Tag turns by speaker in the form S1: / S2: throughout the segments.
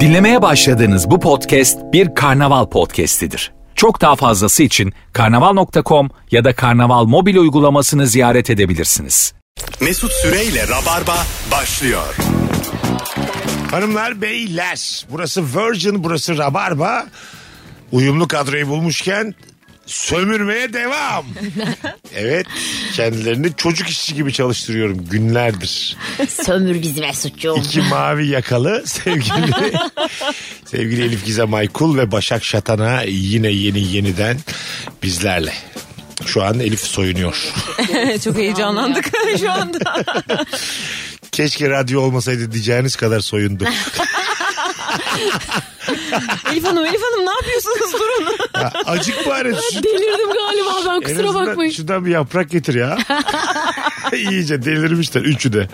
S1: Dinlemeye başladığınız bu podcast bir karnaval podcastidir. Çok daha fazlası için karnaval.com ya da karnaval mobil uygulamasını ziyaret edebilirsiniz.
S2: Mesut Süreyle Rabarba başlıyor.
S3: Hanımlar beyler burası Virgin burası Rabarba. Uyumlu kadroyu bulmuşken sömürmeye devam. evet kendilerini çocuk işçi gibi çalıştırıyorum günlerdir.
S4: Sömür bizi Mesut'cuğum.
S3: İki mavi yakalı sevgili sevgili Elif Gizem Aykul ve Başak Şatan'a yine yeni yeniden bizlerle. Şu an Elif soyunuyor.
S5: Çok heyecanlandık şu anda.
S3: Keşke radyo olmasaydı diyeceğiniz kadar soyundu.
S5: Elif Hanım, Elif Hanım ne yapıyorsunuz? Durun.
S3: Ya, Acık bari. Şu-
S5: Delirdim galiba ben
S3: En azından Şuradan bir yaprak getir ya. İyice delirmişler üçü de.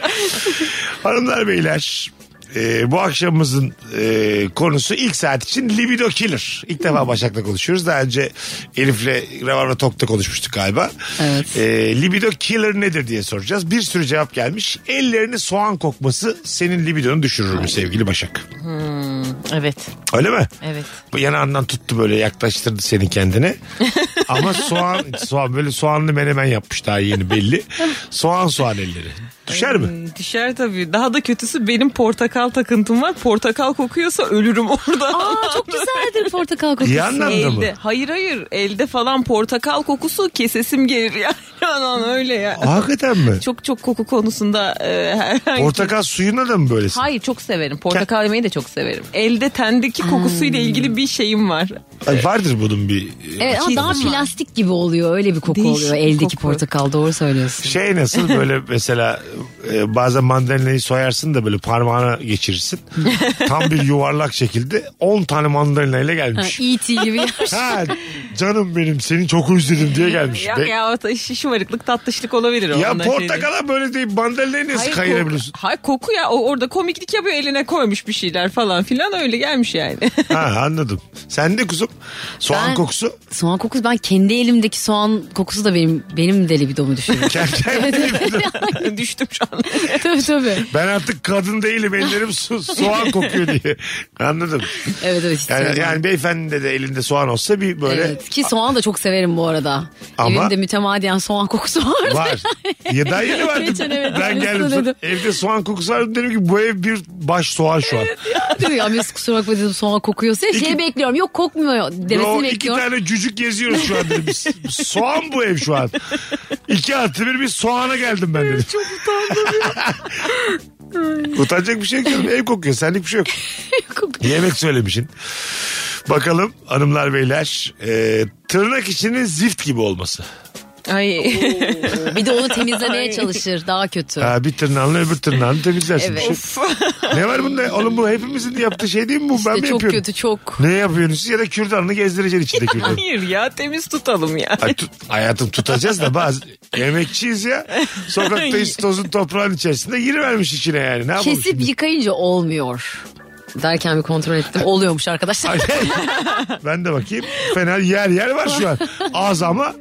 S3: Hanımlar beyler e, bu akşamımızın e, konusu ilk saat için libido killer. İlk defa Başak'la konuşuyoruz. Daha önce Elif'le Ravarva Tok'ta konuşmuştuk galiba.
S4: Evet.
S3: E, libido killer nedir diye soracağız. Bir sürü cevap gelmiş. Ellerini soğan kokması senin libidonu düşürür mü sevgili Başak?
S5: Evet,
S3: Öyle mi?
S5: evet.
S3: Bu Yanağından tuttu böyle yaklaştırdı seni kendine. Ama soğan soğan böyle soğanlı menemen yapmış daha yeni belli. Soğan soğan elleri. Düşer mi?
S5: Ay, Ee, Düşer tabii. Daha da kötüsü benim portakal takıntım var. Portakal kokuyorsa ölürüm orada.
S4: Aa çok güzeldir portakal kokusu.
S3: İyi anlamda mı?
S5: Elde. Hayır hayır. Elde falan portakal kokusu kesesim gelir yani. Anan öyle ya.
S3: Hakikaten mi?
S5: Çok çok koku konusunda e, herhangi
S3: Portakal suyuna da mı böylesin?
S5: Hayır çok severim. Portakal yemeyi de çok severim. Elde tendeki kokusuyla ilgili bir şeyim var.
S3: Ay, vardır bunun bir e,
S4: Evet ama daha
S5: Çizgi.
S4: plastik gibi oluyor öyle bir koku
S5: Değişik
S4: oluyor eldeki
S5: koku.
S4: portakal doğru söylüyorsun.
S3: Şey nasıl böyle mesela e, bazen mandalinayı soyarsın da böyle parmağına geçirirsin. Tam bir yuvarlak şekilde 10 tane mandalinayla
S4: Ha,
S3: gelmiş.
S4: E.T. gibi yapmış.
S3: Ha, canım benim seni çok özledim diye gelmiş.
S5: Ya,
S3: Be-
S5: ya o şi- şımarıklık tatlışlık olabilir. o
S3: Ya
S5: ondan şey değil.
S3: portakala böyle deyip mandalinayı nasıl
S5: Hayır,
S3: kayırabiliyorsun?
S5: koku- Hayır koku ya o- orada komiklik yapıyor eline koymuş bir şeyler falan filan öyle gelmiş yani.
S3: Ha anladım. Sen de kuzum soğan
S4: Ben-
S3: kokusu
S4: Soğan kokusu ben kendi elimdeki soğan kokusu da benim benim de libidomu düşürüyor.
S3: kendine
S5: Düştüm şu an.
S4: tabii tabii.
S3: ben artık kadın değilim ellerim so- soğan kokuyor diye. Anladım.
S4: Evet evet. hiç
S3: Yani,
S4: sevmem.
S3: yani beyefendi de elinde soğan olsa bir böyle
S4: Evet, ki soğan da çok severim bu arada.
S3: Ama-
S4: Evimde mütemadiyen soğan kokusu var.
S3: var. Ya daha yeni vardı.
S4: Geçen evet,
S3: ben
S4: aynısını
S3: geldim.
S4: dedim.
S3: Evde soğan kokusu vardı. Dedim ki bu ev bir baş soğan şu an.
S4: Diyor ya Mesut kusura bakma dedim soğan kokuyorsa.
S3: İki-
S4: Şey bekliyorum yok kokmuyor
S3: Yo,
S4: demesini
S3: iki
S4: bekliyorum.
S3: tane cücük geziyoruz şu an dedim. Biz- soğan bu ev şu an. İki artı bir bir soğana geldim ben dedim.
S5: Çok utandım.
S3: Utanacak bir şey yok. canım. Ev kokuyor. Senlik bir şey yok.
S4: Kokuyor.
S3: Yemek söylemişin. Bakalım hanımlar beyler e, tırnak içinin zift gibi olması.
S5: Ay.
S4: Bir de onu temizlemeye çalışır daha kötü.
S3: Ha, bir tırnağınla öbür tırnağını temizlersin.
S4: Evet.
S3: Bir şey- Ne var bunda? Oğlum bu hepimizin yaptığı şey değil mi bu? ben mi
S4: İşte çok
S3: yapıyorum?
S4: kötü çok.
S3: Ne yapıyorsunuz siz ya da kürdanını gezdireceksin içinde kürdanı.
S5: Hayır ya temiz tutalım ya.
S3: Ay, tut- hayatım tutacağız da bazı yemekçiyiz ya. Sokaktayız tozun toprağın içerisinde girivermiş içine yani. Ne yapalım
S4: Kesip
S3: şimdi?
S4: yıkayınca olmuyor. Derken bir kontrol ettim. Oluyormuş arkadaşlar.
S3: ben de bakayım. Fena yer yer var şu an. Az ama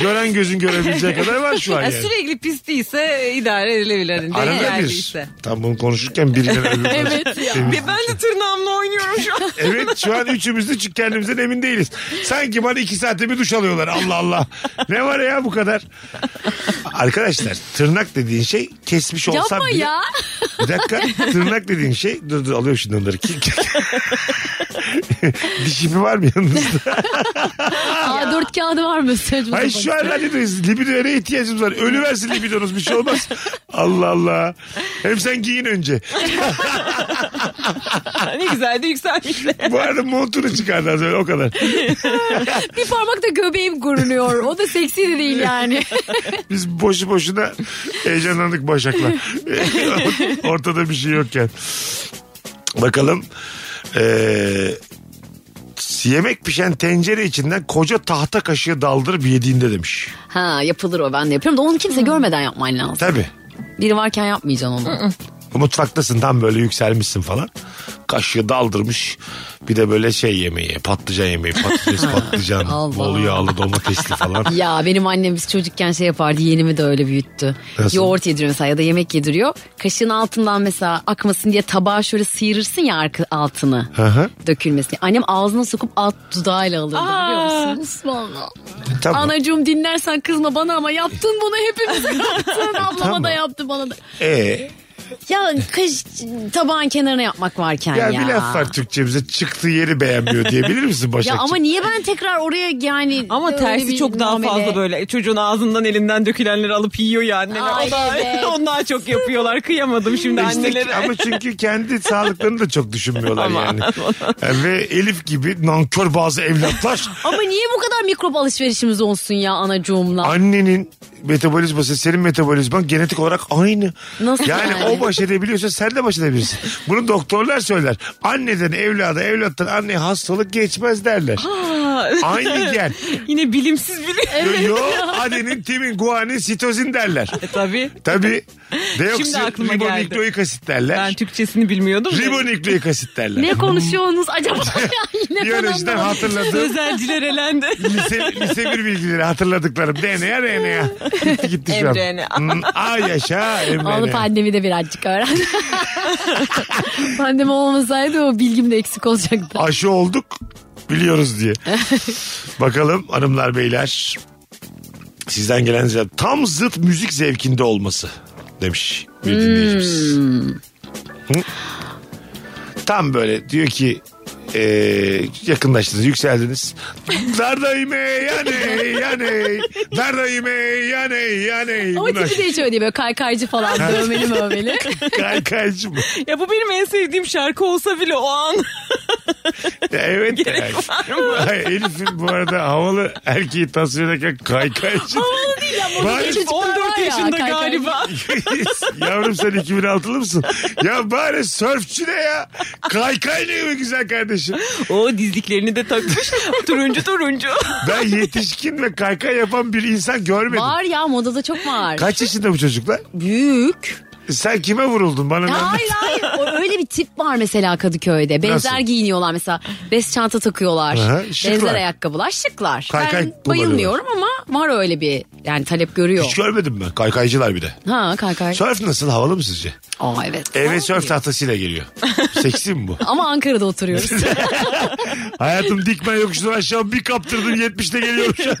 S3: gören gözün görebileceği kadar var şu an
S5: Ya
S3: yani.
S5: sürekli pis değilse idare edilebilir. Hani denk
S3: Arada bir.
S5: geldiyse.
S3: Tam bunu konuşurken birine
S4: Evet ya.
S5: Ve ben de tırnağımla oynuyorum şu an.
S3: Evet şu an üçümüz de çünkü kendimizden emin değiliz. Sanki bana iki saate bir duş alıyorlar Allah Allah. Ne var ya bu kadar? Arkadaşlar tırnak dediğin şey kesmiş olsam
S4: Yapma
S3: bile-
S4: ya.
S3: Bir dakika tırnak dediğin şey dur dur alıyorum şimdi onları. Diş ipi var mı yanınızda?
S4: Aa, dört kağıdı var mı? Saçma
S3: Hayır
S4: sapan.
S3: şu an radyodayız. Libidoya ne ihtiyacımız var? Ölüversin libidonuz bir şey olmaz. Allah Allah. Hem sen giyin önce.
S5: ne güzel de yükselmişler.
S3: Bu arada montunu çıkardı az önce o kadar.
S4: Bir parmakta göbeğim görünüyor. O da seksi de değil yani.
S3: Biz boşu boşuna heyecanlandık Başak'la. Ortada bir şey yokken. Bakalım. Ee, yemek pişen tencere içinden koca tahta kaşığı daldırıp yediğinde demiş.
S4: ha yapılır o ben de yapıyorum da onu kimse
S3: Hmm.
S4: görmeden yapman lazım.
S3: Tabii. Hmm.
S4: Biri varken yapmayacaksın onu.
S3: Mutfaktasın tam böyle yükselmişsin falan. kaşığı daldırmış. Bir de böyle şey yemeği patlıcan yemeği patates patlıcan
S4: Allah.
S3: bol yağlı domatesli falan.
S4: Ya benim annem biz çocukken şey yapardı yeğenimi de öyle büyüttü.
S3: Nasıl?
S4: Yoğurt yediriyor mesela ya da yemek yediriyor. Kaşığın altından mesela akmasın diye tabağa şöyle sıyırırsın ya arka altını.
S3: hı.
S4: Dökülmesini. Annem ağzına sokup alt dudağıyla alırdı biliyor musun? Osmanlı.
S3: Tamam.
S4: Anacığım dinlersen kızma bana ama yaptın bunu hepimiz yaptın. Ablama
S3: Tamam.
S4: da yaptı bana da.
S3: Ee,
S4: Ya kaş tabağın kenarına yapmak varken ya.
S3: ya, bir laf var Türkçemize çıktığı yeri beğenmiyor diyebilir misin
S4: Ya
S3: Başakçı?
S4: ama niye ben tekrar oraya yani
S5: Ama
S4: öyle
S5: tersi
S4: bir
S5: çok daha
S4: muamele-
S5: fazla böyle. E, Çocuğun ağzından elinden dökülenleri alıp yiyor ya anneler.
S4: Ay,
S5: o da,
S4: evet.
S5: onlar çok yapıyorlar. Kıyamadım şimdi
S3: İşte
S5: annelere.
S3: ama çünkü kendi sağlıklarını da çok düşünmüyorlar
S5: Aman,
S3: yani. Ee, Ve Elif gibi nankör bazı evlatlar
S4: Ama niye bu kadar mikrop alışverişimiz olsun ya anacığımla?
S3: annenin metabolizması senin metabolizman genetik olarak aynı.
S4: Nasıl
S3: yani,
S4: yani?
S3: o baş edebiliyorsa sen de baş edebilirsin. Bunu doktorlar söyler. Anneden evlada evlattan anneye hastalık geçmez derler. Aynı gen.
S5: Yine bilimsiz bilim.
S3: Yo, adenin, timin, guanin, sitozin derler.
S5: E, Tabii.
S3: Tabii. Deoksin,
S5: aklıma geldi.
S3: ribonükleik asit derler.
S5: Ben Türkçesini bilmiyordum. da.
S3: Ribonükleik asit derler.
S4: Ne konuşuyorsunuz acaba? Yine
S3: Biyolojiden hatırladığım
S5: Özelciler elendi.
S3: lise, lise bir bilgileri hatırladıklarım. DNA, RNA. Gitti gitti şu an.
S5: mRNA.
S3: Hmm, Aa yaşa
S4: Onu
S3: mRNA.
S4: pandemi de birazcık öğren. pandemi olmasaydı o bilgim de eksik olacaktı.
S3: Aşı olduk biliyoruz diye. Bakalım hanımlar beyler. Sizden gelen cevap tam zıt müzik zevkinde olması demiş bir dinleyicimiz. Hı? Tam böyle diyor ki e, yakınlaştınız yükseldiniz. Dardayım ey yaney yaney. Dardayım ey yaney yaney.
S4: O
S3: Bunlar
S4: tipi de hiç öyle değil böyle kaykaycı falan dövmeli mövmeli.
S3: kaykaycı mı?
S5: ya bu benim en sevdiğim şarkı olsa bile o an
S3: Ya Evet. yani.
S5: gerek var mı?
S3: Ay, Elif'in bu arada havalı erkeği tasvir ederken kaykaycı.
S5: Havalı değil ama.
S3: Bari-
S5: Bari,
S4: Çocuklar
S5: 14
S4: var ya,
S5: yaşında
S4: kaykay-
S5: galiba.
S3: Yavrum sen 2006'lı mısın? Ya bari sörfçü ne ya? Kaykay ne be güzel kardeşim?
S5: O dizliklerini de takmış. turuncu turuncu.
S3: Ben yetişkin ve kaykay yapan bir insan görmedim.
S4: Var ya modada çok var.
S3: Kaç yaşında bu çocuklar?
S4: Büyük.
S3: Sen kime vuruldun bana? ne anlat?
S4: Hayır hayır O öyle bir tip var mesela Kadıköy'de. Benzer
S3: Nasıl?
S4: giyiniyorlar mesela. Bez çanta takıyorlar.
S3: Aha, şıklar.
S4: Benzer ayakkabılar şıklar.
S3: Kaykay
S4: ben bayılmıyorum ama var öyle bir yani talep görüyor.
S3: Hiç görmedim ben. Kaykaycılar bir de.
S4: Ha kaykay.
S3: Sörf nasıl? Havalı mı sizce?
S4: Aa evet.
S3: Eve sörf tahtasıyla geliyor. Seksi mi bu?
S4: Ama Ankara'da oturuyoruz.
S3: Hayatım dikmen yokuşunu aşağı bir kaptırdın 70'te geliyorum şu an.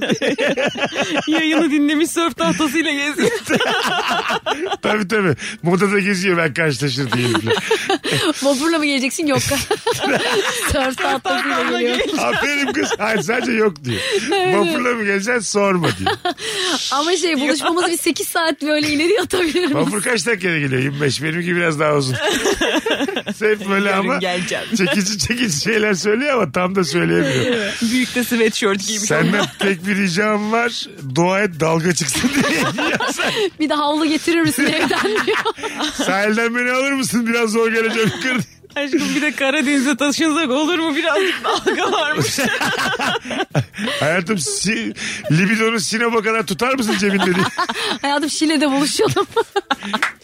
S5: Yayını dinlemiş sörf tahtasıyla geziyor.
S3: tabii tabii. Modada geziyor ben karşılaşır diyelim.
S4: Vapurla mı geleceksin yok. Surf tahtasıyla
S5: Tahtamla
S4: geliyor.
S5: gel.
S3: Aferin kız. Hayır sadece yok diyor. Vapurla mı geleceksin sorma diyor.
S4: Ama şey buluşmamız bir 8 saat böyle ileri atabilirim.
S3: Vapur kaç dakikada geliyor? 25. Benimki biraz daha uzun. Hep böyle
S5: Yarın
S3: ama
S5: geleceğim.
S3: çekici çekici şeyler söylüyor ama tam da söyleyemiyor.
S5: Büyük de sweatshirt giymiş.
S3: Senden tek bir ricam var. Dua et dalga çıksın diye.
S4: Bir de havlu getirir misin evden diyor.
S3: Sahilden beni alır mısın? Biraz zor geleceğim. Kır.
S5: Aşkım bir de Karadeniz'e taşınsak olur mu? Birazcık dalga varmış.
S3: Hayatım si, libidonu Sinop'a kadar tutar mısın cebinde diye.
S4: Hayatım Şile'de buluşalım.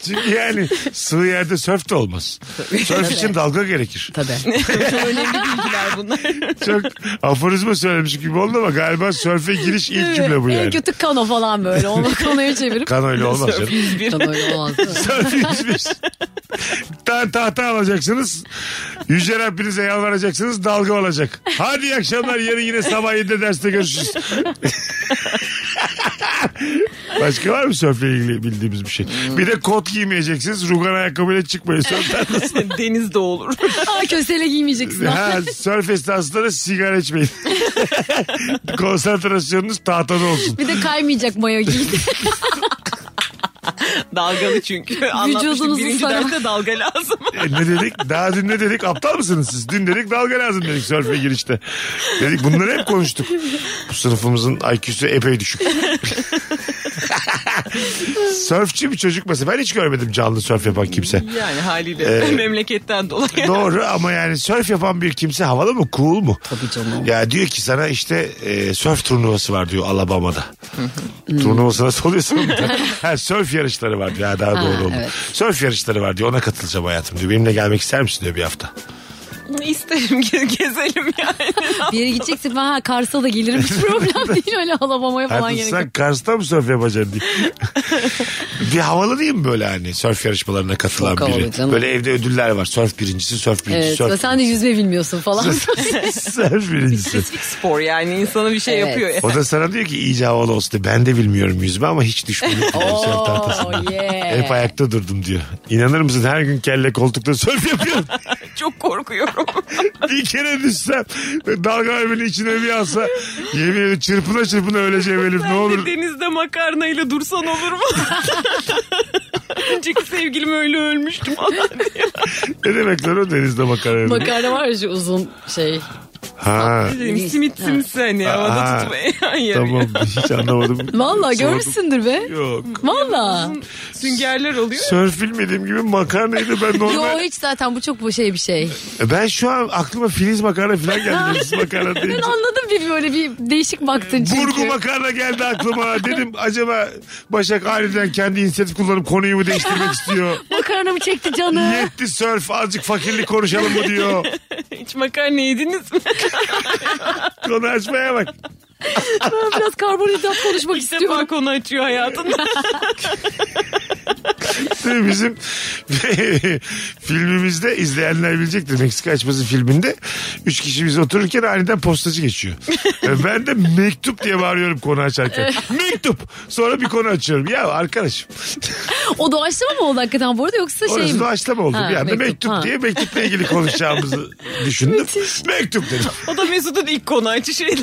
S3: Çünkü yani sığ yerde sörf de olmaz. Sörf için dalga gerekir.
S4: Tabii.
S5: Çok önemli bilgiler bunlar.
S3: Çok aforizma söylemiş gibi oldu ama galiba sörfe giriş ilk cümle bu
S4: En
S3: yani.
S4: kötü kano falan böyle. Onu konuya çevirip.
S3: Kan öyle olmaz canım.
S5: Sörf 101.
S4: Kano öyle olmaz.
S3: Sörfünüz Ta tahta alacaksınız. Yüce Rabbinize yalvaracaksınız. Dalga olacak. Hadi iyi akşamlar. Yarın yine sabah 7'de derste görüşürüz. Başka var mı sörfle ilgili bildiğimiz bir şey? Bir de kot giymeyeceksiniz. Rugan ayakkabıyla çıkmayın. Sörf tahtasında-
S5: Deniz de olur.
S4: Aa kösele giymeyeceksin.
S3: ha, sörf esnasında da sigara içmeyin. Konsantrasyonunuz tahtada olsun.
S4: Bir de kaymayacak mayo giydi.
S5: Dalgalı çünkü. Anlatmıştık
S4: Vücudunuzu
S5: birinci
S4: saran-
S5: derste dalga lazım.
S3: E, ne dedik? Daha dün ne dedik? Aptal mısınız siz? Dün dedik dalga lazım dedik sörfe girişte. Dedik bunları hep konuştuk. Bu sınıfımızın IQ'su epey düşük. Sörfçü bir çocuk mesela. Ben hiç görmedim canlı sörf yapan kimse.
S5: Yani haliyle memleketten dolayı.
S3: Doğru ama yani sörf yapan bir kimse havalı mı cool mu?
S4: Tabii canım.
S3: Ya diyor ki sana işte e, sörf turnuvası var diyor Alabama'da. turnuvası nasıl oluyorsa onu da- ha, sörf yarışları var diyor. Ha, daha doğru olur.
S4: evet.
S3: Sörf yarışları var diyor ona katılacağım hayatım diyor. Benimle gelmek ister misin diyor bir hafta.
S5: İsterim ge- gezelim yani.
S4: Bir yere gideceksin ben ha Kars'a da gelirim hiç problem değil öyle Alabama'ya falan
S3: Artık
S4: gerek yok.
S3: sen Kars'ta mı sörf yapacaksın diye. bir havalı değil mi böyle hani sörf yarışmalarına katılan
S4: Çok havalı
S3: biri?
S4: canım.
S3: Böyle evde ödüller var. Sörf birincisi, sörf birincisi,
S4: Evet
S3: sörf
S4: ve sen de yüzme bilmiyorsun falan.
S3: birincisi. sörf birincisi.
S5: Spesifik spor yani insana bir şey
S4: Evet.
S5: yapıyor.
S3: O da sana diyor ki iyice havalı olsun diye. Ben de bilmiyorum yüzme ama hiç düşmedim. sörf tahtasından.
S4: Oo, yeah.
S3: Hep ayakta durdum diyor. İnanır mısın her gün kelle koltukta sörf yapıyorum.
S5: Çok korkuyorum.
S3: bir kere düşsem ve dalga beni içine bir alsa yemin ederim çırpına çırpına öleceğim Elif ne olur.
S5: Denizde makarnayla dursan olur mu? Önceki sevgilim öyle ölmüştüm falan diye.
S3: Ne demek lan o denizde makarna?
S4: Makarna var ya şu uzun şey.
S3: ha.
S5: Dedim, simit simsi hani havada
S3: Aha.
S5: tutmayan yer.
S3: Tamam hiç anlamadım.
S4: Vallahi
S3: Sordum.
S4: görmüşsündür be.
S3: Yok.
S4: Valla.
S5: Süngerler oluyor.
S3: Sörf bilmediğim gibi makarnayı da ben
S4: Yo
S3: normal... E
S4: hiç zaten bu çok bu şey bir şey.
S3: Ben şu an aklıma filiz makarna falan geldi. Denizsiz makarna
S4: Ben
S3: deyince.
S4: anladım bir böyle bir değişik baktın çünkü.
S3: Burgu makarna geldi aklıma. Dedim acaba Başak aniden kendi inisiyatif kullanıp konuyu mu değiştirmek istiyor?
S4: Makarnamı çekti canı.
S3: Yetti sörf azıcık fakirlik konuşalım mı diyor.
S5: Hiç makarna yediniz mi?
S3: Konu açmaya bak.
S4: Ben biraz karbonhidrat konuşmak
S5: İlk defa
S4: istiyorum.
S5: konu açıyor hayatında.
S3: Değil mi? Bizim filmimizde izleyenler bilecektir. Meksika açması filminde üç kişi biz otururken aniden postacı geçiyor. Ve ben de mektup diye bağırıyorum konu açarken. mektup. Sonra bir konu açıyorum. Ya arkadaşım
S4: O doğaçlama mı oldu hakikaten bu arada yoksa şey
S3: orası
S4: mi?
S3: doğaçlama oldu.
S4: Ha,
S3: bir anda
S4: mektup,
S3: mektup,
S4: ha.
S3: diye mektupla ilgili konuşacağımızı düşündüm. mektup dedim.
S5: O da Mesut'un ilk konu açı şeyler.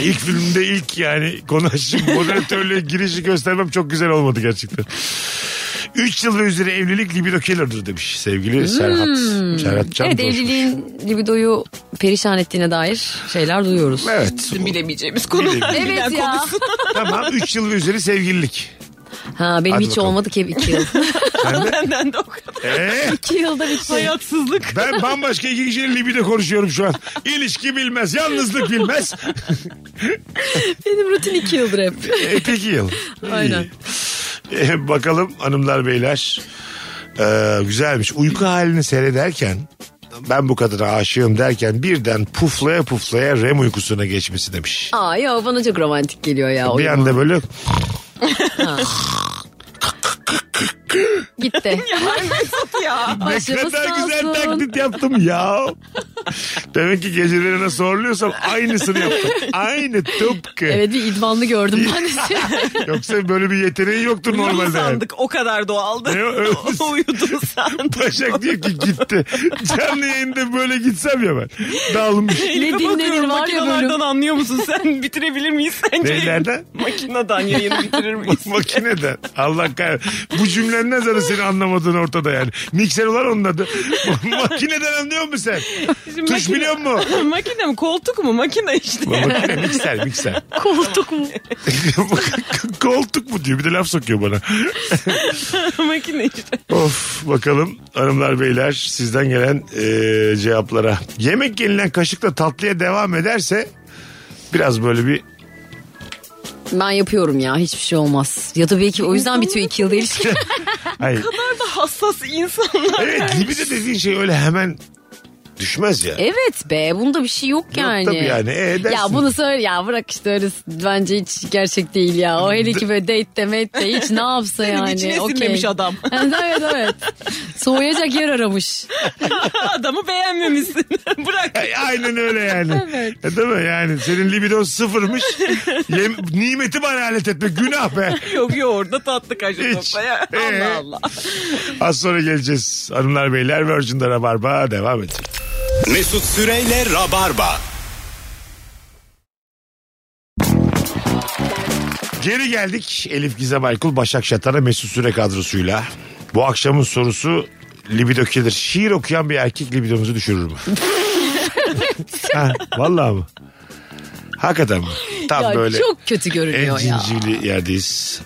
S3: İlk filmde ilk yani konu açışım moderatörlüğe girişi göstermem çok güzel olmadı gerçekten. 3 yıl ve üzeri evlilik libido killer'dır demiş sevgili Serhat. Serhat Can
S4: Evet
S3: Doğru.
S4: evliliğin libidoyu perişan ettiğine dair şeyler duyuyoruz.
S3: Evet.
S5: Bizim bilemeyeceğimiz konu.
S3: Bilemeyeceğimiz.
S5: Bilen
S4: Evet ya.
S5: konuşsun.
S3: tamam 3 yıl ve üzeri sevgililik.
S4: Ha benim
S3: Hadi
S4: hiç
S3: bakalım.
S4: olmadı ki iki yıl.
S5: Benden de o kadar.
S3: Ee,
S4: iki yılda bir şey.
S5: Hayatsızlık.
S3: ben bambaşka iki kişiyle libido konuşuyorum şu an. İlişki bilmez, yalnızlık bilmez.
S4: Benim rutin iki yıldır hep.
S3: E, peki yıl.
S4: Aynen.
S3: İyi. E, bakalım hanımlar beyler. Ee, güzelmiş. Uyku halini seyrederken ben bu kadına aşığım derken birden puflaya puflaya REM uykusuna geçmesi demiş.
S4: Aa ya bana çok romantik geliyor ya.
S3: Bir
S4: oyun.
S3: anda böyle
S4: Gitti.
S5: Mesut ya.
S3: ne
S4: Başımız
S3: kadar
S4: sağ
S3: güzel
S4: olsun.
S3: taklit yaptım ya. Demek ki geceleri nasıl horluyorsam aynısını yaptım. Aynı tıpkı.
S4: Evet bir idmanlı gördüm ben de.
S3: Yoksa böyle bir yeteneği yoktur
S5: Uyudun
S3: normalde. yani.
S5: sandık o kadar doğaldı.
S3: Ne o? Öyle-
S5: Uyudun sandık.
S3: Başak diyor ki gitti. Canlı yayında böyle gitsem ya ben. Dalmış.
S5: Elime
S4: dinlenir
S5: bakıyorum,
S4: var ya
S5: makinalardan
S4: bölüm.
S5: anlıyor musun sen bitirebilir miyiz sence?
S3: Neylerden?
S5: Makineden yayını bitirir miyiz?
S3: Makineden. Allah kahretsin. Bu cümlenden zaten seni anlamadığın ortada yani. Mikser olan onun adı. Makineden anlıyor musun sen?
S5: Şimdi
S3: Tuş
S5: makine-
S3: biliyor musun?
S5: makine mi koltuk mu makine işte.
S3: Bu Makine mikser mikser.
S4: Koltuk mu?
S3: Koltuk mu diyor bir de laf sokuyor bana.
S5: makine işte.
S3: Of bakalım hanımlar beyler sizden gelen eee, cevaplara. Yemek yenilen kaşıkla tatlıya devam ederse biraz böyle bir
S4: Ben yapıyorum ya hiçbir şey olmaz. Ya da belki o yüzden bitiyor iki yılda ilişki.
S3: hayır.
S5: Bunlar da hassas insanlar.
S3: Evet libido dediğin şey öyle hemen düşmez ya.
S4: evet be bunda bir şey yok yani.
S3: tabii yani, e, edersin.
S4: ya bunu söyle ya bırak işte öyle bence hiç gerçek değil ya. O hele ki böyle date de mate de hiç ne yapsa
S5: Senin
S4: yani.
S5: içine
S4: okey.
S5: sinmemiş adam.
S4: Evet evet evet. Soğuyacak yer aramış.
S5: Adamı beğenmemişsin. Bırak.
S3: E, Aynen öyle yani. E, Değil mi yani senin libidon sıfırmış. Yem, nimeti bana alet etme günah be.
S5: Yok yok orada tatlı kaşık
S3: Hiç.
S5: toplaya.
S3: Ee?
S5: Allah Allah.
S3: Az sonra geleceğiz. Hanımlar beyler Virgin'de Rabarba devam edecek.
S2: Mesut Süreyle Rabarba.
S3: Geri geldik Elif Gizem Aykul Başak Şatan'a Mesut Süre kadrosuyla. Bu akşamın sorusu libido killer. Şiir okuyan bir erkek libidomuzu düşürür mü? ha, vallahi mı? Hakikaten mi? Tam
S4: ya
S3: böyle.
S4: çok kötü
S3: En
S4: görünüyor ya.
S3: cincivli yerdeyiz.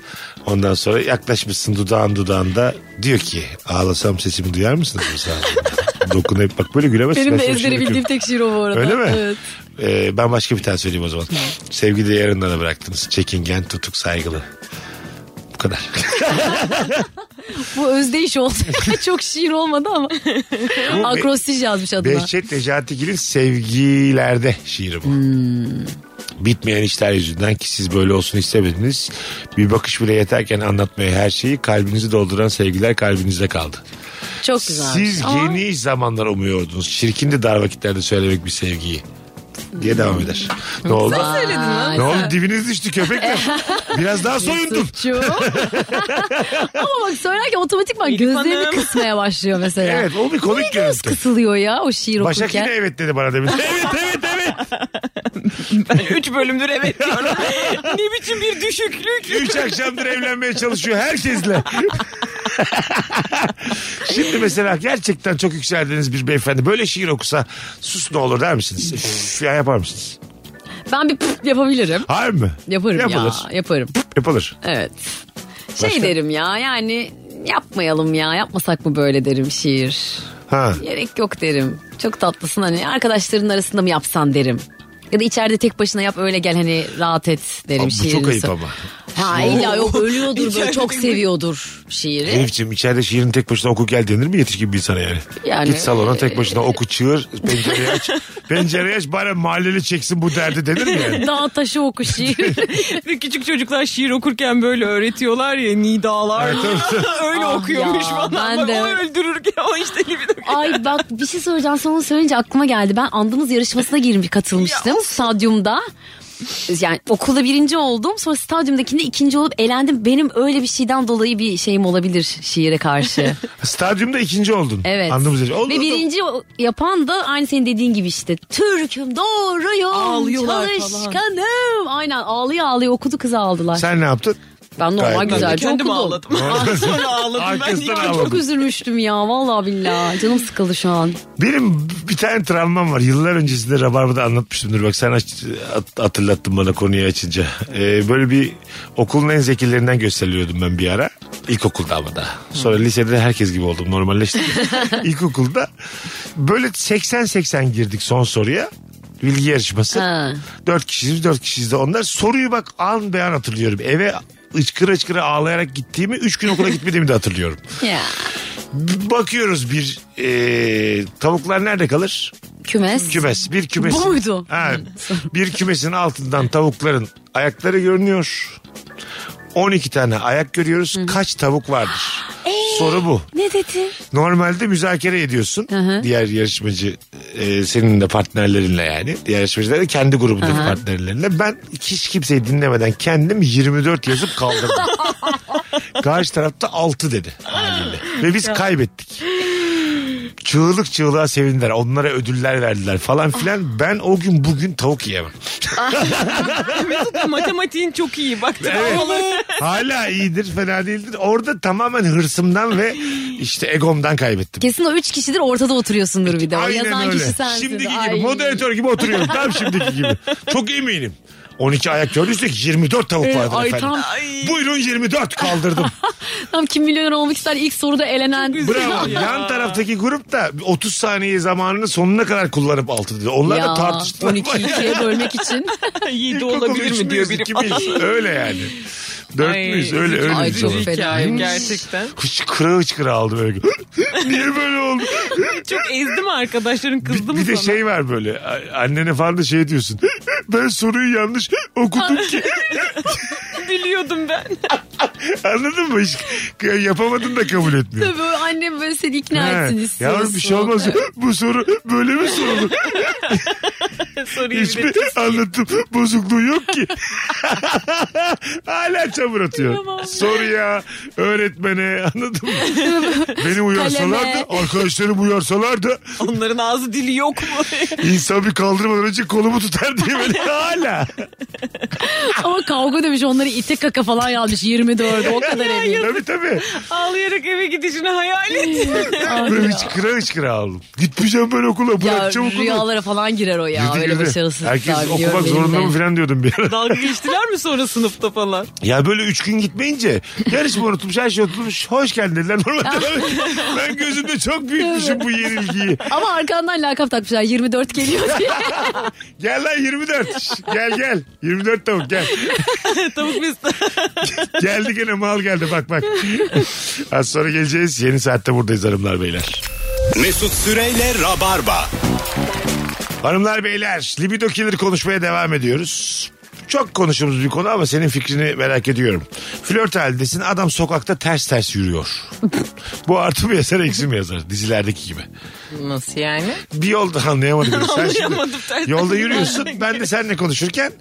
S3: Ondan sonra yaklaşmışsın dudağın dudağında. Diyor ki ağlasam sesimi duyar mısınız? Mesela? Dokun hep bak böyle gülemezsin.
S4: Benim
S3: Ben
S4: de
S3: sana şimdi
S4: ezbere bildiğim
S3: bakıyorum.
S4: tek şiir o bu arada.
S3: Öyle mi?
S4: Evet.
S3: Ee, ben başka bir tane söyleyeyim o zaman. Sevgili yarından da bıraktınız. Çekingen, tutuk, saygılı. Bu kadar.
S4: Bu özdeyiş oldu. Çok şiir olmadı ama.
S3: Bu
S4: Akrostiş yazmış adına.
S3: Behçet Necatigil'in sevgilerde şiiri bu.
S4: Hmm.
S3: Bitmeyen işler yüzünden ki siz böyle olsun istemediniz. Bir bakış bile yeterken anlatmaya her şeyi kalbinizi dolduran sevgiler kalbinizde kaldı.
S4: Çok güzel.
S3: Siz geniş zamanlar umuyordunuz. Çirkin de dar vakitlerde söylemek bir sevgiyi. Diye devam eder. Ne oldu?
S5: Söyledin lan.
S3: Ne oldu dibiniz düştü köpek mi? Biraz daha soyundun.
S4: Suçu. ama bak söylerken otomatikman
S5: İrfan
S4: gözlerini
S5: Hanım.
S4: kısmaya başlıyor mesela.
S3: Evet o bir komik görüntü.
S4: Kısılıyor ya o şiir
S3: Başak
S4: okurken.
S3: yine evet dedi bana demin. Evet evet evet.
S5: Ben 3 bölümdür evet diyorum. ne biçim bir düşüklük.
S3: Üç akşamdır evlenmeye çalışıyor herkesle. Şimdi mesela gerçekten çok yükseldiğiniz bir beyefendi böyle şiir okusa sus ne olur der misiniz? Üf ya yapar mısınız?
S4: Ben bir pıp yapabilirim.
S3: Hayır mı?
S4: Yaparım
S3: Yapılır.
S4: ya. Yaparım.
S3: Yapılır.
S4: Evet. Şey
S3: Başka?
S4: derim ya yani yapmayalım ya yapmasak mı böyle derim şiir.
S3: Ha.
S4: Gerek yok derim. Çok tatlısın hani arkadaşların arasında mı yapsan derim. Ya da içeride tek başına yap öyle gel hani rahat et derim
S3: Ama bu
S4: şiirini.
S3: çok ayıp
S4: sor-
S3: ama.
S4: Ha illa yok ölüyordur böyle
S5: İçeride
S4: çok
S5: mi?
S4: seviyordur şiiri.
S3: Elif'ciğim içeride şiirin tek başına oku gel denir mi yetişkin bir insana yani?
S4: Yani- e,
S3: Git salona tek başına oku çığır pencereyi aç. pencereyi aç bari mahalleli çeksin bu derdi denir mi yani?
S4: Dağ taşı oku şiir.
S5: Ve küçük çocuklar şiir okurken böyle öğretiyorlar ya nidalar. Öyle
S4: Ah
S5: okuyormuş
S4: ya,
S5: bana.
S4: ben
S5: Bak,
S4: de-
S5: O öldürürken o işte libido.
S4: Ay bak bir şey söyleyeceğim sana onu söyleyince aklıma geldi. Ben andımız yarışmasına girmiş katılmıştım stadyumda. Yani okulda birinci oldum sonra stadyumdakinde ikinci olup elendim. Benim öyle bir şeyden dolayı bir şeyim olabilir şiire karşı.
S3: Stadyumda ikinci oldun.
S4: Evet.
S3: Anladığımız
S4: Ve birinci o- yapan da aynı senin dediğin gibi işte. Türk'üm doğruyum.
S5: Ağlıyorlar falan.
S4: çalışkanım. Aynen ağlıyor ağlıyor okudu kızı aldılar.
S3: Sen ne yaptın?
S4: ben normal
S3: Gayet
S5: Ben de
S4: güzelce
S5: kendim
S4: okudum.
S5: ağladım. Sonra ağladım ben.
S3: Arkasından
S5: İki-
S4: Ay,
S3: ağladım.
S4: çok üzülmüştüm ya vallahi billahi. Canım sıkıldı şu an.
S3: Benim bir tane travmam var. Yıllar öncesinde Rabarba'da anlatmıştımdır. Bak sen aç- at- hatırlattın bana konuyu açınca. Ee, böyle bir okulun en zekilerinden gösteriliyordum ben bir ara. İlkokulda ama daha. Sonra lisede herkes gibi oldum. Normalleştim. İlkokulda böyle 80-80 girdik son soruya. Bilgi yarışması.
S4: Ha.
S3: Dört kişiyiz dört kişiyiz de onlar. Soruyu bak an beyan hatırlıyorum. Eve ıçkıra ıçkıra ağlayarak gittiğimi üç gün okula gitmediğimi de hatırlıyorum.
S4: Ya.
S3: B- Bakıyoruz bir e, tavuklar nerede kalır?
S4: Kümes.
S3: Kümes. Bir kümesin.
S4: Bu muydu? Hmm.
S3: Ha, bir kümesin altından tavukların ayakları görünüyor. 12 tane ayak görüyoruz. Kaç tavuk vardır?
S4: Ee,
S3: Soru bu.
S4: Ne dedi?
S3: Normalde müzakere ediyorsun. Diğer yarışmacı e, senin de partnerlerinle yani. Diğer yarışmacılar da kendi grubundaki partnerlerinle. Ben hiç kimseyi dinlemeden kendim 24 yazıp kaldırdım. Karşı tarafta 6 dedi haliyle. Ve biz kaybettik. Çığlık çığlığa sevindiler. Onlara ödüller verdiler falan filan. Ben o gün bugün tavuk yiyemem.
S5: Matematiğin çok iyi. Bak
S3: Evet. Hala iyidir fena değildir. Orada tamamen hırsımdan ve işte egomdan kaybettim.
S4: Kesin o üç kişidir ortada oturuyorsundur bir de. O yazan kişi sensin.
S3: Şimdiki gibi
S4: Ay.
S3: moderatör gibi oturuyorum. Tam şimdiki gibi. Çok eminim. 12 ayak gördüysek 24 tavuk vardı
S4: Ee, ay
S3: efendim.
S4: tam-
S3: Buyurun 24 kaldırdım.
S4: Tam kim milyoner olmak ister ilk soruda elenen.
S3: Bravo. Yan taraftaki grup da 30 saniye zamanını sonuna kadar kullanıp altı dedi. Onlar da
S4: Ya,
S3: tartıştılar.
S4: 12'yi ikiye bölmek için.
S5: 7
S3: İlkokul üç
S5: olabilir mi diyor
S3: müyüz,
S5: biri.
S3: iki miyiz? öyle yani. Dört
S5: Ay,
S3: müyüz öyle öyle.
S4: Ay,
S3: bir
S4: çok
S3: şey.
S4: fena.
S5: Hikayem
S4: Hımm.
S5: gerçekten.
S3: Hıçkıra hıçkıra aldı böyle. Niye böyle oldu?
S5: Çok ezdi mi arkadaşların kızdı mı
S3: bir de
S5: sana?
S3: şey var böyle a- annene falan da şey diyorsun. ben soruyu yanlış okudum ki.
S5: Biliyordum ben.
S3: Anladın mı? Hiç yapamadın da kabul etmiyor.
S4: Tabii böyle annem böyle seni ikna
S3: Ya
S4: etsin
S3: Yavrum bir şey olmaz. Bu soru böyle mi sorulur?
S5: Soruyu bir de
S3: Hiçbir anlatım bozukluğu yok ki. Hala çamur atıyor.
S4: Tamam.
S3: Soruya, öğretmene anladın mı? Beni uyarsalardı,
S4: Kaleme.
S3: arkadaşlarım uyarsalardı
S5: Onların ağzı dili yok mu?
S3: insan bir kaldırmadan önce kolumu tutar diye böyle hala.
S4: Ama kavga demiş onları ite kaka falan yazmış 24 o kadar eminim.
S3: tabii tabii.
S5: Ağlayarak eve gidişini hayal et.
S3: Böyle hıçkıra hıçkıra aldım. Gitmeyeceğim ben okula
S4: Ya
S3: bırakacağım okulu.
S4: rüyalara falan girer o ya.
S3: Yedi
S4: Öyle böyle başarısızlıklar
S3: Herkes
S4: biliyorum
S3: okumak
S4: benim
S3: zorunda
S4: de.
S3: mı falan diyordum bir ara.
S5: Dalga geçtiler mi sonra sınıfta falan?
S3: Ya böyle üç gün gitmeyince yarışma unutulmuş her şey unutulmuş. Hoş geldin dediler. Normalde ben- ben gözümde çok büyütmüşüm bu yenilgiyi.
S4: Ama arkandan lakap takmışlar 24 geliyor diye.
S3: Gel lan 24. Gel gel. 24 tavuk gel.
S5: Tavuk biz
S3: Geldi gene mal geldi bak bak. Az sonra geleceğiz. Yeni saatte buradayız hanımlar beyler.
S2: Mesut Süreyle Rabarba.
S3: Hanımlar beyler libido killer konuşmaya devam ediyoruz. Çok konuştuğumuz bir konu ama senin fikrini merak ediyorum. Flört halindesin adam sokakta ters ters yürüyor. Bu artı mı yazar eksi mi yazar dizilerdeki gibi.
S5: Nasıl yani?
S3: Bir yolda anlayamadım. Sen şimdi
S5: Anlayamadım, ters
S3: Yolda
S5: ters
S3: yürüyorsun
S5: yürüyorum.
S3: ben de seninle konuşurken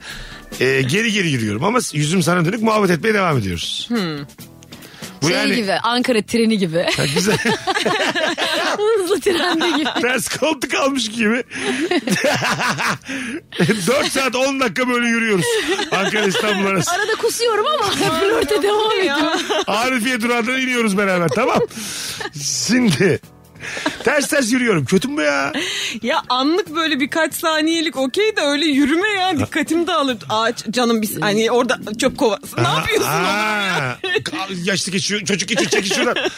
S3: e, geri geri yürüyorum ama yüzüm sana dönük muhabbet etmeye devam ediyoruz. Bu
S4: şey
S3: yani
S4: gibi Ankara treni gibi.
S3: güzel
S4: Hızlı trende gibi.
S3: ters koltuk almış gibi. 4 saat 10 dakika böyle yürüyoruz. Ankara İstanbul arası.
S4: Arada kusuyorum ama flörte devam ediyorum.
S3: Arifiye durağından iniyoruz beraber tamam. Şimdi ters ters yürüyorum. Kötü mü bu ya?
S5: Ya anlık böyle birkaç saniyelik okey de öyle yürüme ya dikkatim dağılır. Ağaç canım biz hani orada çöp kovası. Ne yapıyorsun oğlum?
S3: Aa, yaşlı geçiyor, çocuk geçiyor, çekil şuradan.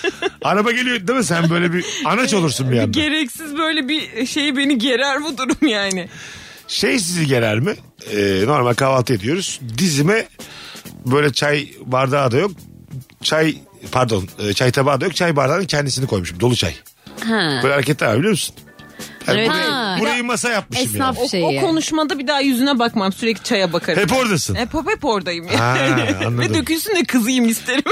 S3: Araba geliyor değil mi? Sen böyle bir
S5: Ee,
S3: anaç olursun bir anda.
S5: Gereksiz böyle bir şey beni gerer bu durum yani.
S3: Şey sizi gerer mi? Ee, normal kahvaltı ediyoruz. Dizime böyle çay bardağı da yok. Çay pardon e, çay tabağı da yok. Çay bardağının kendisini koymuşum. Dolu çay.
S4: Ha.
S3: Böyle hareketler var biliyor musun? Yani
S5: Evet.
S3: burayı,
S4: Ha.
S3: burayı masa yapmışım
S4: Esnaf
S3: yani.
S5: O,
S4: şeyi.
S5: o konuşmada bir daha yüzüne bakmam sürekli çaya bakarım.
S3: Hep oradasın.
S5: Hep hep, hep oradayım.
S3: Ha, anladım.
S5: Ve dökülsün de kızayım isterim.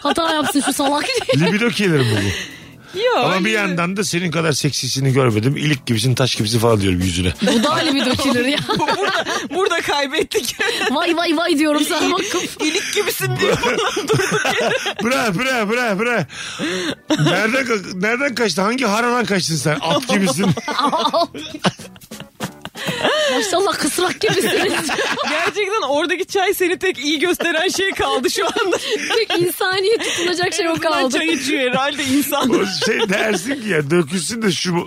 S4: Hata yapsın şu salak.
S3: Libido killer mi bu?
S5: Yok. hani
S3: Ama bir yandan da senin kadar seksisini görmedim. İlik gibisin, taş gibisin falan diyorum yüzüne.
S4: Bu da bir dökülür ya.
S5: Bu- burada, burada kaybettik.
S4: Vay vay vay diyorum sana bakın.
S5: İlik gibisin diye.
S3: Bırak, bırak, bırak, bırak. Nereden, ka- nereden kaçtı? Hangi haradan kaçtın sen? At gibisin.
S4: Maşallah kısrak gibisiniz.
S5: Gerçekten oradaki çay seni tek iyi gösteren şey kaldı şu anda.
S4: Tek insaniye tutunacak şey o kaldı.
S5: Çay içiyor herhalde insan.
S3: O şey dersin ki ya dökülsün de şu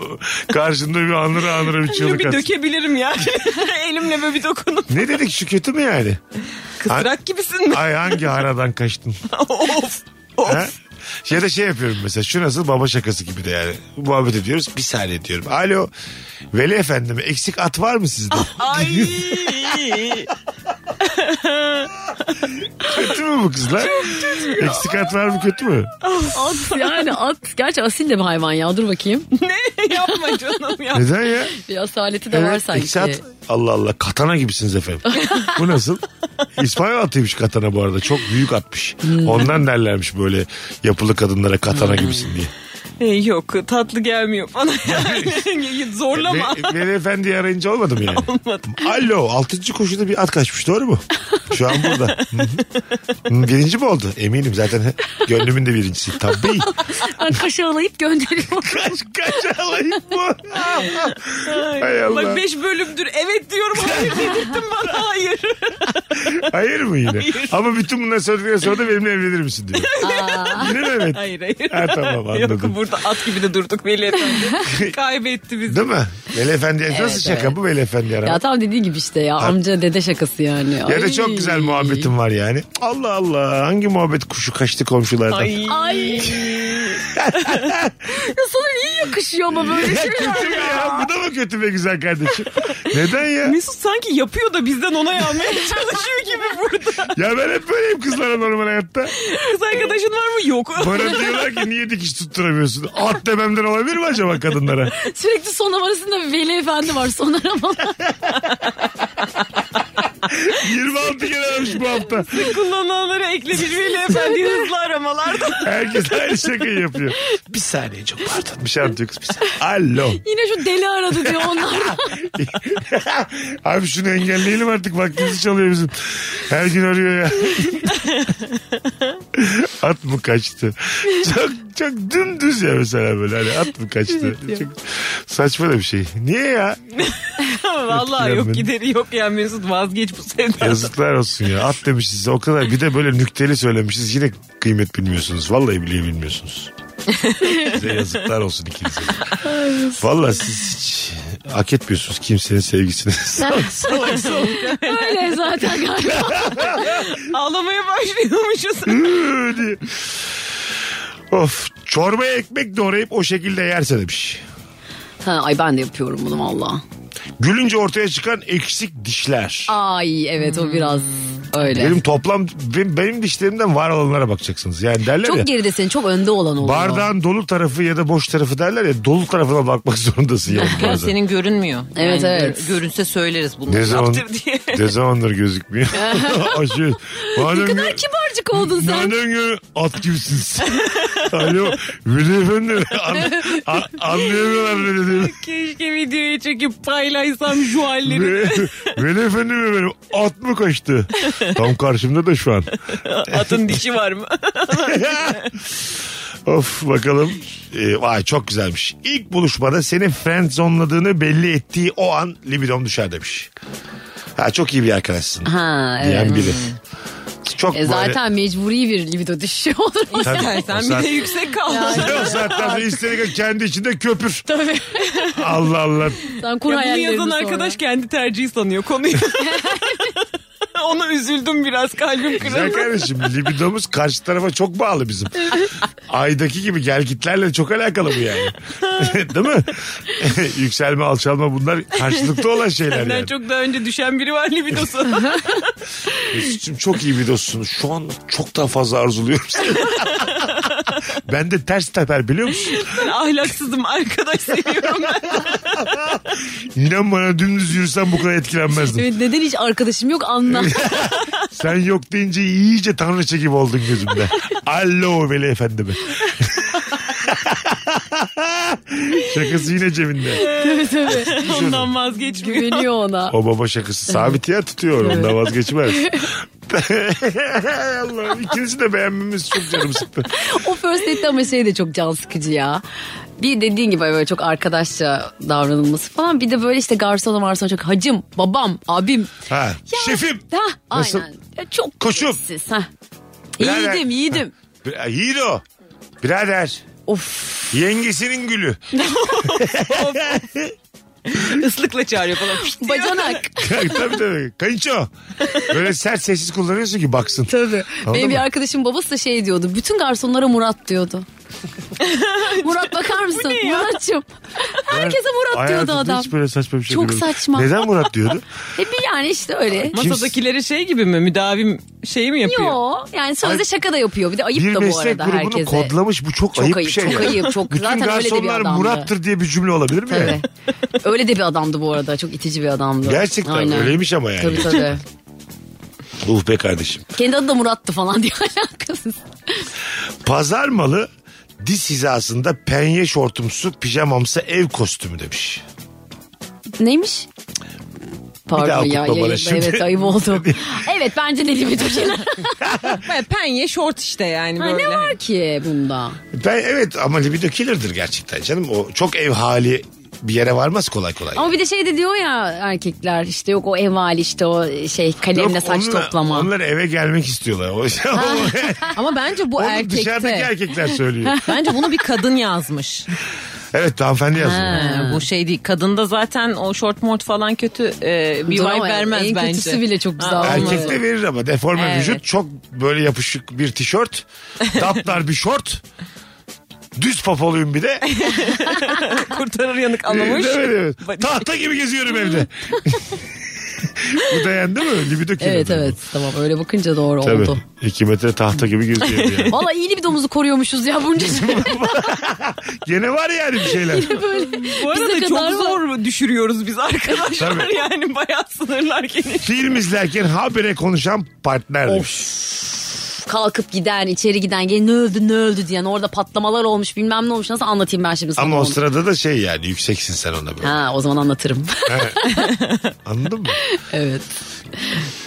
S3: karşında bir anıra anıra bir
S5: Şunu
S3: çığlık
S5: bir
S3: atsın.
S5: dökebilirim ya. Elimle böyle bir dokunup.
S3: Ne dedik şu kötü mü yani?
S5: Kısrak gibisin mi?
S3: Ay hangi haradan kaçtın?
S5: of. Of.
S3: Ha? Ya da şey yapıyorum mesela şu nasıl baba şakası gibi de yani. Muhabbet ediyoruz bir saniye diyorum. Alo Veli efendim eksik at var mı sizde?
S5: Ay.
S3: kötü mü bu kızlar? eksik at var mı kötü mü?
S4: At yani at. Gerçi asil de bir hayvan ya dur bakayım.
S5: ne yapma canım ya.
S3: Neden ya?
S4: Bir asaleti de var sanki.
S3: eksi at- Allah Allah katana gibisiniz efendim. bu nasıl? İspanyol atıymış katana bu arada. Çok büyük atmış.
S5: Hmm.
S3: Ondan derlermiş böyle yapılı kadınlara katana gibisin diye.
S5: E, Yok tatlı gelmiyor bana. Yani. Zorlama.
S3: Ve, Veli Efendi'yi arayınca olmadı mı yani?
S5: Olmadı.
S3: Alo altıncı koşuda bir at kaçmış doğru mu? Şu an burada. Hı hı. Hı, Birinci mi oldu? Eminim zaten gönlümün de birincisi. Tabii.
S4: Ben kaşı alayıp gönderiyorum.
S3: Kaç kaç alayım bu? Hay Allah.
S5: Bak 5 bölümdür evet diyorum. Hayır dedirttin bana hayır.
S3: Hayır mı yine?
S5: Hayır.
S3: Ama bütün bunları söyledikten sonra da benimle evlenir misin diyor. Yine mi evet?
S5: Hayır hayır.
S3: Ha, tamam, anladım.
S5: Yok burada at gibi de durduk Veli Efendi. Kaybetti bizi.
S3: Değil mi? Veli Efendi nasıl şaka
S4: evet.
S3: bu Veli Efendi arama?
S4: ya tam dediğin gibi işte ya amca dede şakası yani.
S3: Ya da çok güzel muhabbetim var yani. Allah Allah hangi muhabbet kuşu kaçtı komşulardan.
S5: Ay.
S4: Ay. ya sana niye yakışıyor ama böyle
S3: Ya
S4: şey?
S3: kötü mü ya? Bu da mı kötü be güzel kardeşim? Neden ya?
S5: Mesut sanki yapıyor da bizden ona yanmaya çalışıyor gibi burada.
S3: Ya ben hep böyleyim kızlara normal hayatta.
S5: Kız arkadaşın var mı? Yok.
S3: Bana diyorlar ki niye dikiş tutturamıyorsun? At dememden olabilir mi acaba kadınlara?
S4: Sürekli son numarasında bir Veli Efendi var son aramalar.
S3: 26 kere aramış bu hafta.
S5: Kullanılanları eklemiş Veli Efendi hızlı aramalarda.
S3: Herkes aynı şakayı yapıyor. Bir saniye çok pardon. Bir şey anlatıyor kız bir saniye. Alo.
S4: Yine şu deli aradı diyor onlar. da.
S3: Abi şunu engelleyelim artık vaktimizi çalıyor bizim. Her gün arıyor ya. at mı kaçtı? Çok çok dümdüz ya mesela böyle hani at mı kaçtı? çok saçma da bir şey. Niye ya?
S5: Vallahi
S3: Etkilenmedim.
S5: yok gideri yok ya Mesut vazgeç bu sevdadan.
S3: Yazıklar olsun ya. At demişiz size o kadar. Bir de böyle nükteli söylemişiz. Yine kıymet bilmiyorsunuz. Vallahi bile bilmiyorsunuz. size yazıklar olsun ikinize. Vallahi siz hiç Hak etmiyorsunuz kimsenin sevgisini. Salak salak salak.
S4: Öyle zaten galiba.
S5: Ağlamaya başlıyormuşuz.
S3: diye. Of çorbaya ekmek doğrayıp o şekilde yerse demiş.
S4: Ha, ay ben de yapıyorum bunu valla.
S3: Gülünce ortaya çıkan eksik dişler.
S4: Ay evet o biraz öyle.
S3: Benim toplam benim, benim dişlerimden var olanlara bakacaksınız. Yani derler ya.
S4: çok geride senin çok önde olan oluyor.
S3: Bardağın dolu tarafı ya da boş tarafı derler ya dolu tarafına bakmak zorundasın yani
S5: Yani
S3: bazen.
S5: senin görünmüyor.
S4: Evet,
S5: Yani
S4: evet.
S5: gör- Görünse söyleriz bunu.
S3: Ne zaman
S5: yaptım diye.
S3: ne zamandır gözükmüyor. Aşırı.
S4: Ne
S3: Madem
S4: kadar kibarcık oldun sen.
S3: Madem ki at gibisiniz. Alo. Veli efendi. An, a, anlayamıyorlar ne dediğimi.
S5: Keşke videoyu çekip paylaşsam şu halleri.
S3: Ve, Veli efendi mi benim? At mı kaçtı? Tam karşımda da şu an.
S5: Atın dişi var mı?
S3: of bakalım. Ee, vay çok güzelmiş. İlk buluşmada senin friend zonladığını belli ettiği o an libidom düşer demiş. Ha çok iyi bir arkadaşsın.
S4: Ha evet.
S3: Diyen biri. Çok
S4: E, zaten mecburi bir libido düşüşü olur.
S3: Tabii.
S5: İstersen
S3: O saat-
S5: bir de yüksek kal.
S3: böyle... zaten sonra istedik kendi içinde köpür. Tabii. Allah Allah.
S4: Sen kur
S5: Ya bunu
S4: hayallerini
S5: yazan
S4: sonra.
S5: arkadaş kendi tercihi sanıyor konuyu. Ona üzüldüm biraz kalbim
S3: Güzel
S5: kırıldı.
S3: kardeşim libidomuz karşı tarafa çok bağlı bizim. Aydaki gibi gel gitlerle çok alakalı bu yani. Değil mi? Yükselme alçalma bunlar karşılıklı olan şeyler
S5: Senden
S3: yani.
S5: çok daha önce düşen biri var libidosu.
S3: Mesut'cum çok iyi bir dostsun. Şu an çok daha fazla arzuluyorum seni. ben de ters teper biliyor musun?
S5: ben ahlaksızım arkadaş seviyorum ben.
S3: İnan bana dümdüz yürüsen bu kadar etkilenmezdim.
S4: Evet, neden hiç arkadaşım yok anla.
S3: Sen yok deyince iyice tanrıça gibi oldun gözümde. Alo veli efendimi. Şakası yine cebinde.
S4: tabii tabii.
S5: Ondan vazgeçmiyor.
S4: Güveniyor ona.
S3: O baba şakası sabit yer tutuyor. Ondan vazgeçmez. Allah'ım ikinizi de beğenmemiz çok canım sıktı.
S4: O first date ama şey de çok can sıkıcı ya. Bir dediğin gibi böyle çok arkadaşça davranılması falan. Bir de böyle işte garsona marsona çok hacım, babam, abim.
S3: Ha, şefim.
S4: Ha,
S3: Nasıl?
S4: aynen. Ya çok
S3: Koşum.
S4: gereksiz, Ha.
S3: Birader.
S4: Yiğidim, yiğidim.
S3: Bir- Yiğit o. Birader.
S4: Of.
S3: Yengesinin gülü.
S5: Islıkla çağırıyor falan.
S4: Bacanak.
S3: tabii tabii. Kayınço. Böyle sert sessiz kullanıyorsun ki baksın.
S4: Tabii.
S3: Anladın
S4: Benim bir
S3: mı?
S4: arkadaşım babası da şey diyordu. Bütün garsonlara Murat diyordu. Murat bakar mısın? Murat'cığım. Herkese Murat diyordu
S3: Hayatımda
S4: adam.
S3: Hiç böyle saçma bir şey
S4: Çok
S3: görmedim.
S4: saçma.
S3: Neden Murat diyordu?
S4: E bir yani işte öyle.
S5: Masadakileri şey gibi mi müdavim şey mi yapıyor?
S4: Yo yani sözde şaka da yapıyor. Bir de ayıp
S3: bir
S4: da bu
S3: meslek
S4: arada
S3: grubunu
S4: herkese.
S3: kodlamış bu çok,
S4: Çok
S3: ayıp, bir
S4: ayıp,
S3: şey.
S4: çok
S3: ya.
S4: ayıp, çok-
S3: Bütün
S4: zaten öyle de bir
S3: garsonlar
S4: adamdı.
S3: Murat'tır diye bir cümle olabilir mi?
S4: Tabii.
S3: yani?
S4: öyle de bir adamdı bu arada. Çok itici bir adamdı.
S3: Gerçekten öyleymiş ama yani.
S4: Tabii tabii.
S3: Uf be kardeşim.
S4: Kendi adı da Murat'tı falan diye alakasız.
S3: Pazar malı diz hizasında penye şortumsu pijamamsı ev kostümü demiş.
S4: Neymiş? Pardon
S3: daha
S4: ya.
S3: okutma bana
S4: yayında,
S3: şimdi.
S4: Evet ayıp oldu. evet bence dediğim bir şeyler.
S5: Ben penye şort işte yani
S4: Ha,
S5: böyle.
S4: ne var ki bunda?
S3: Ben evet ama libido killer'dır gerçekten canım. O çok ev hali bir yere varmaz kolay kolay.
S4: Ama bir de şey de diyor ya erkekler işte yok o ev hali işte o şey kalemle
S3: Yok,
S4: saç
S3: onlar-
S4: toplama.
S3: Onlar eve gelmek istiyorlar. O,
S5: Ama bence bu
S3: Onu
S5: erkekte.
S3: dışarıdaki erkekler söylüyor.
S5: Bence bunu bir kadın yazmış.
S3: evet hanımefendi yazıyor.
S5: Ha, bu şey değil. Kadında zaten o short mort falan kötü e, bir
S4: Dur
S5: vibe
S4: ama
S5: vermez
S4: en
S5: bence.
S4: kötüsü bile çok güzel
S5: Ha,
S4: olmaz.
S3: Erkek de verir ama deforme
S5: Evet.
S3: vücut çok böyle yapışık bir tişört. Daptar bir şort. Düz papoluyum bir de.
S5: Kurtarır yanık anlamış.
S3: Evet, evet, evet. Tahta gibi geziyorum evde. Bu dayandı mı? Libido kilo.
S4: Evet evet tamam öyle bakınca doğru
S3: Tabii.
S4: oldu.
S3: 2 metre tahta gibi geziyorum yani.
S4: Valla iyi libidomuzu koruyormuşuz ya bunca sene
S3: Gene var yani bir şeyler.
S4: böyle.
S5: Bu
S4: Bize
S5: arada çok
S4: kadar var.
S5: zor düşürüyoruz biz arkadaşlar.
S3: Tabii.
S5: Yani bayağı sınırlar geniş.
S3: Film izlerken habire konuşan partner demiş.
S4: Kalkıp giden içeri giden gel ne öldü ne öldü diyen orada patlamalar olmuş bilmem ne olmuş nasıl anlatayım ben şimdi sana
S3: Ama o
S4: onu?
S3: sırada da şey yani yükseksin sen ona böyle.
S4: Ha o zaman anlatırım.
S3: Anladın mı?
S4: evet.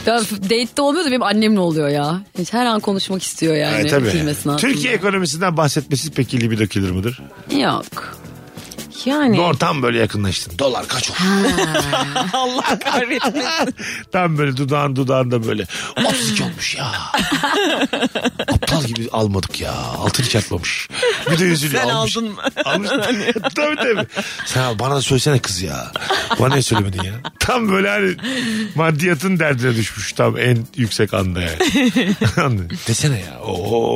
S4: Ya date'de olmuyor da benim annemle oluyor ya. Hiç her an konuşmak istiyor yani.
S3: Evet, tabii.
S4: film esnasında.
S3: Türkiye ekonomisinden bahsetmesi peki libido killer mıdır?
S4: Yok.
S5: Yani.
S3: Doğru tam böyle yakınlaştın. Dolar kaç oldu?
S5: Allah kahretmesin.
S3: tam böyle dudağın dudağında böyle. 32 olmuş ya. Aptal gibi almadık ya. Altını çarpmamış. Bir de üzülüyor.
S5: Sen
S3: almış.
S5: aldın mı?
S3: Almış. tabii tabii. Sen al bana da söylesene kız ya. Bana ne söylemedin ya? Tam böyle hani maddiyatın derdine düşmüş. Tam en yüksek anda yani. Anladın? Desene ya. Oo.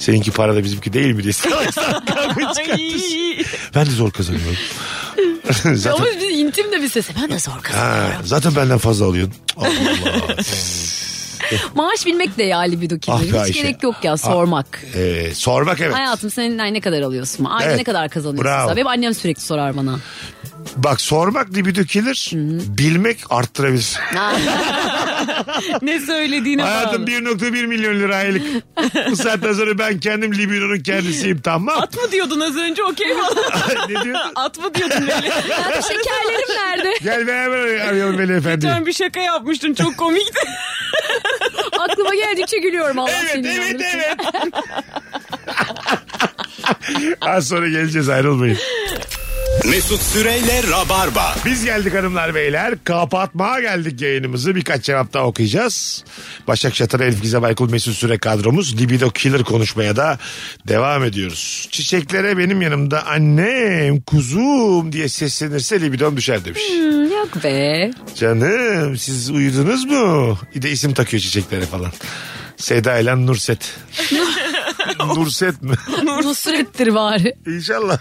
S3: Seninki para da bizimki değil mi diye. Salak salak kavga çıkartırsın.
S5: Ay.
S3: Ben de zor kazanıyorum.
S4: Ama
S3: zaten,
S4: bir intim de bir sesi. Ben de zor
S3: ha,
S4: kazanıyorum.
S3: zaten benden fazla alıyorsun. Allah Allah.
S4: Maaş bilmek de ya libido
S3: Ah be
S4: kirleri. Hiç
S3: Ayşe.
S4: gerek yok ya
S3: Ah.
S4: sormak.
S3: Ee, sormak evet.
S4: Hayatım senin ay ne kadar alıyorsun? Ayda
S3: Evet.
S4: ne kadar kazanıyorsun?
S3: Bravo.
S4: sen? Benim annem sürekli sorar bana.
S3: Bak sormak dibi dökülür. Bilmek arttırabilir.
S5: ne söylediğine
S3: Hayatım
S5: bağlı.
S3: 1.1 milyon lira aylık. Bu saatten sonra ben kendim libidonun kendisiyim tamam.
S5: At mı diyordun az önce okey mi?
S3: ne diyorsun?
S5: At mı diyordun böyle?
S4: Ya şekerlerim nerede?
S3: Gel beraber arayalım Veli Efendi.
S5: Sen bir şaka yapmıştın çok komikti.
S4: Aklıma geldikçe gülüyorum Allah
S3: Evet
S4: seni
S3: evet
S4: inandırsın.
S3: evet. Az sonra geleceğiz ayrılmayın.
S2: Mesut Süreyle Rabarba.
S3: Biz geldik hanımlar beyler. Kapatmaya geldik yayınımızı. Birkaç cevap daha okuyacağız. Başak Şatır, Elif Gizem Aykul, Mesut Süre kadromuz. Libido Killer konuşmaya da devam ediyoruz. Çiçeklere benim yanımda annem, kuzum diye seslenirse libidom düşer demiş.
S4: Hmm, Yok be.
S3: Canım siz uyudunuz mu? Bir de isim takıyor çiçeklere falan. Seda ile Nurset. Nurset mi?
S4: Nusret'tir bari.
S3: İnşallah.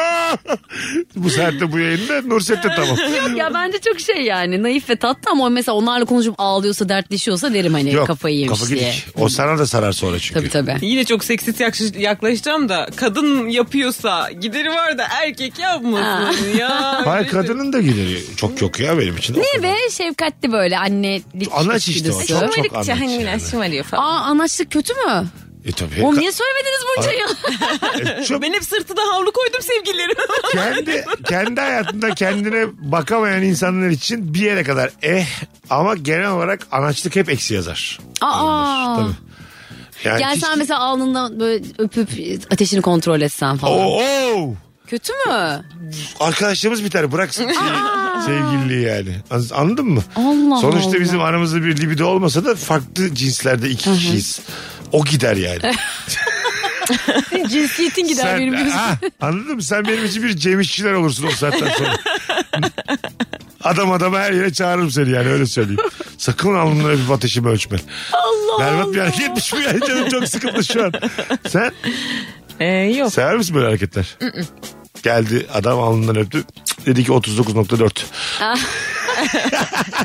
S3: bu saatte bu yayında Nurset de tamam.
S4: Yok ya bence çok şey yani naif ve tatlı ama mesela onlarla konuşup ağlıyorsa dertleşiyorsa derim hani kafayı yemiş
S3: kafa
S4: diye.
S3: gidik. O sana da sarar sonra çünkü.
S4: Tabii tabii.
S5: Yine çok seksist yaklaş- yaklaşacağım da kadın yapıyorsa gideri var da erkek yapmasın ya.
S3: Hayır kadının da gideri çok yok ya benim için.
S4: Ne be şefkatli böyle annelik
S3: Anaç işte o.
S5: E,
S4: içgüdüsü.
S3: Çok çok anlaç. Yani.
S5: şımarıyor falan.
S4: Aa anaçlık kötü mü?
S3: E tabii.
S4: Oğlum
S3: Ka-
S4: niye söylemediniz bunca yıl?
S3: e, çok-
S5: Ben hep sırtına havlu koydum sevgililerime.
S3: kendi, kendi hayatında kendine bakamayan insanlar için bir yere kadar eh ama genel olarak anaçlık hep eksi yazar.
S4: Aa.
S3: Tabii. Yani
S4: Gelsen
S3: hiç-
S4: mesela alnından böyle öpüp ateşini kontrol etsen falan.
S3: Oo, oo.
S4: Kötü mü?
S3: Arkadaşlarımız biter bıraksın sevgili- sevgililiği yani. An- Anladın mı?
S4: Allah
S3: Sonuçta
S4: Allah.
S3: bizim aramızda bir libido olmasa da farklı cinslerde iki kişiyiz. O gider yani.
S4: Hani Cinsiyetin gider
S3: Sen-
S4: benim gözüm.
S3: Ha, anladın mı? Sen benim için bir cemişçiler olursun o saatten sonra. Adam adama her yere çağırırım seni yani öyle söyleyeyim. Sakın alnına öpüp ateşimi ölçme. Allah Berbat bir hareketmiş bu yani canım çok sıkıntı şu an. Sen
S5: E, yok.
S3: sever misin böyle hareketler? Geldi adam alnından öptü. Cık, Dedi ki 39.4.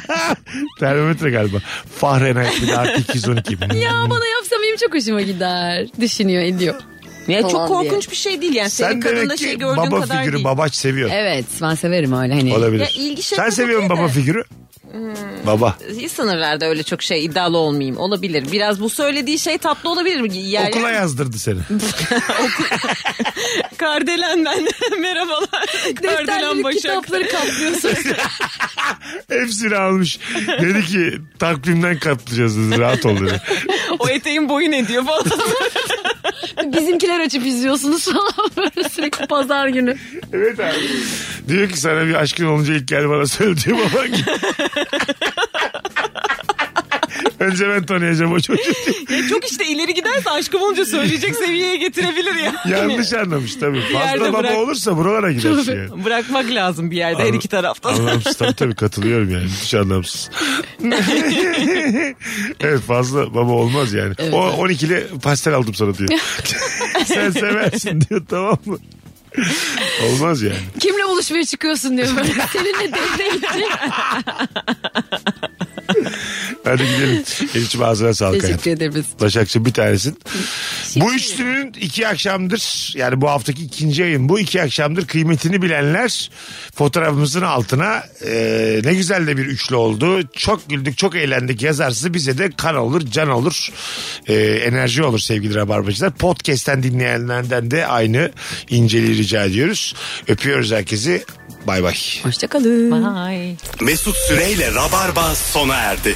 S3: Termometre galiba. Fahrenheit bir de artı 212.
S4: Ya bana yapsam benim çok hoşuma gider. Düşünüyor ediyor.
S5: Ya çok
S4: Falan
S5: korkunç bir şey değil yani.
S3: Sen
S5: Senin kadınla
S3: demek
S5: şey
S3: ki
S5: gördüğün
S3: baba
S5: kadar
S3: figürü
S5: değil.
S3: babaç seviyor.
S4: Evet ben severim öyle hani.
S3: Olabilir.
S5: Ya ilgi
S3: Sen
S5: şaka
S3: seviyor musun
S5: bakıyor
S3: baba
S5: da. Hmm.
S3: figürü? Baba.
S5: Sınırlarda öyle çok şey iddialı olmayayım. Olabilir. Biraz bu söylediği şey tatlı olabilir. Yani
S3: Okula yazdırdı seni.
S5: Kardelen ben. Merhabalar. Kardelen
S4: Defterleri
S5: Başak.
S4: kitapları kaplıyorsun.
S3: Hepsini almış. Dedi ki takvimden katlayacağız dedi. Rahat ol dedi.
S5: O eteğin boyu ne diyor falan.
S4: Bizimkiler açıp izliyorsunuz falan böyle sürekli pazar günü.
S3: Evet abi. Diyor ki sana bir aşkın olunca ilk gel bana söyle diyor baban ki. Önce ben tanıyacağım o çocuğu.
S5: Ya E, çok işte ileri giderse aşkım olunca söyleyecek seviyeye getirebilir ya.
S3: Yanlış anlamış tabii. Fazla
S5: yerde
S3: baba
S5: bırak.
S3: olursa buralara gidersin yani.
S5: Bırakmak lazım bir yerde her iki taraftan.
S3: Anlamsız tabii tabii katılıyorum yani. Hiç anlamsız. evet fazla baba olmaz yani. o 12'li pastel aldım sana diyor. Sen seversin diyor tamam mı? Olmaz yani.
S4: Kimle buluşmaya çıkıyorsun diyor böyle. Seninle date için.
S3: Hadi gidelim. Elçim ağzına sağlık
S4: Teşekkür
S3: hayatım.
S4: ederiz.
S3: Başakçı bir tanesin. Bu üçlünün iki akşamdır yani bu haftaki ikinci yayın bu iki akşamdır kıymetini bilenler fotoğrafımızın altına e, ne güzel de bir üçlü oldu. Çok güldük çok eğlendik yazarsa bize de kan olur can olur e, enerji olur sevgili rabarbacılar. Podcast'ten dinleyenlerden de aynı inceliği rica ediyoruz. Öpüyoruz herkesi bay bay.
S4: Hoşçakalın.
S5: Ay.
S2: Mesut Süreyle Rabarba sona erdi.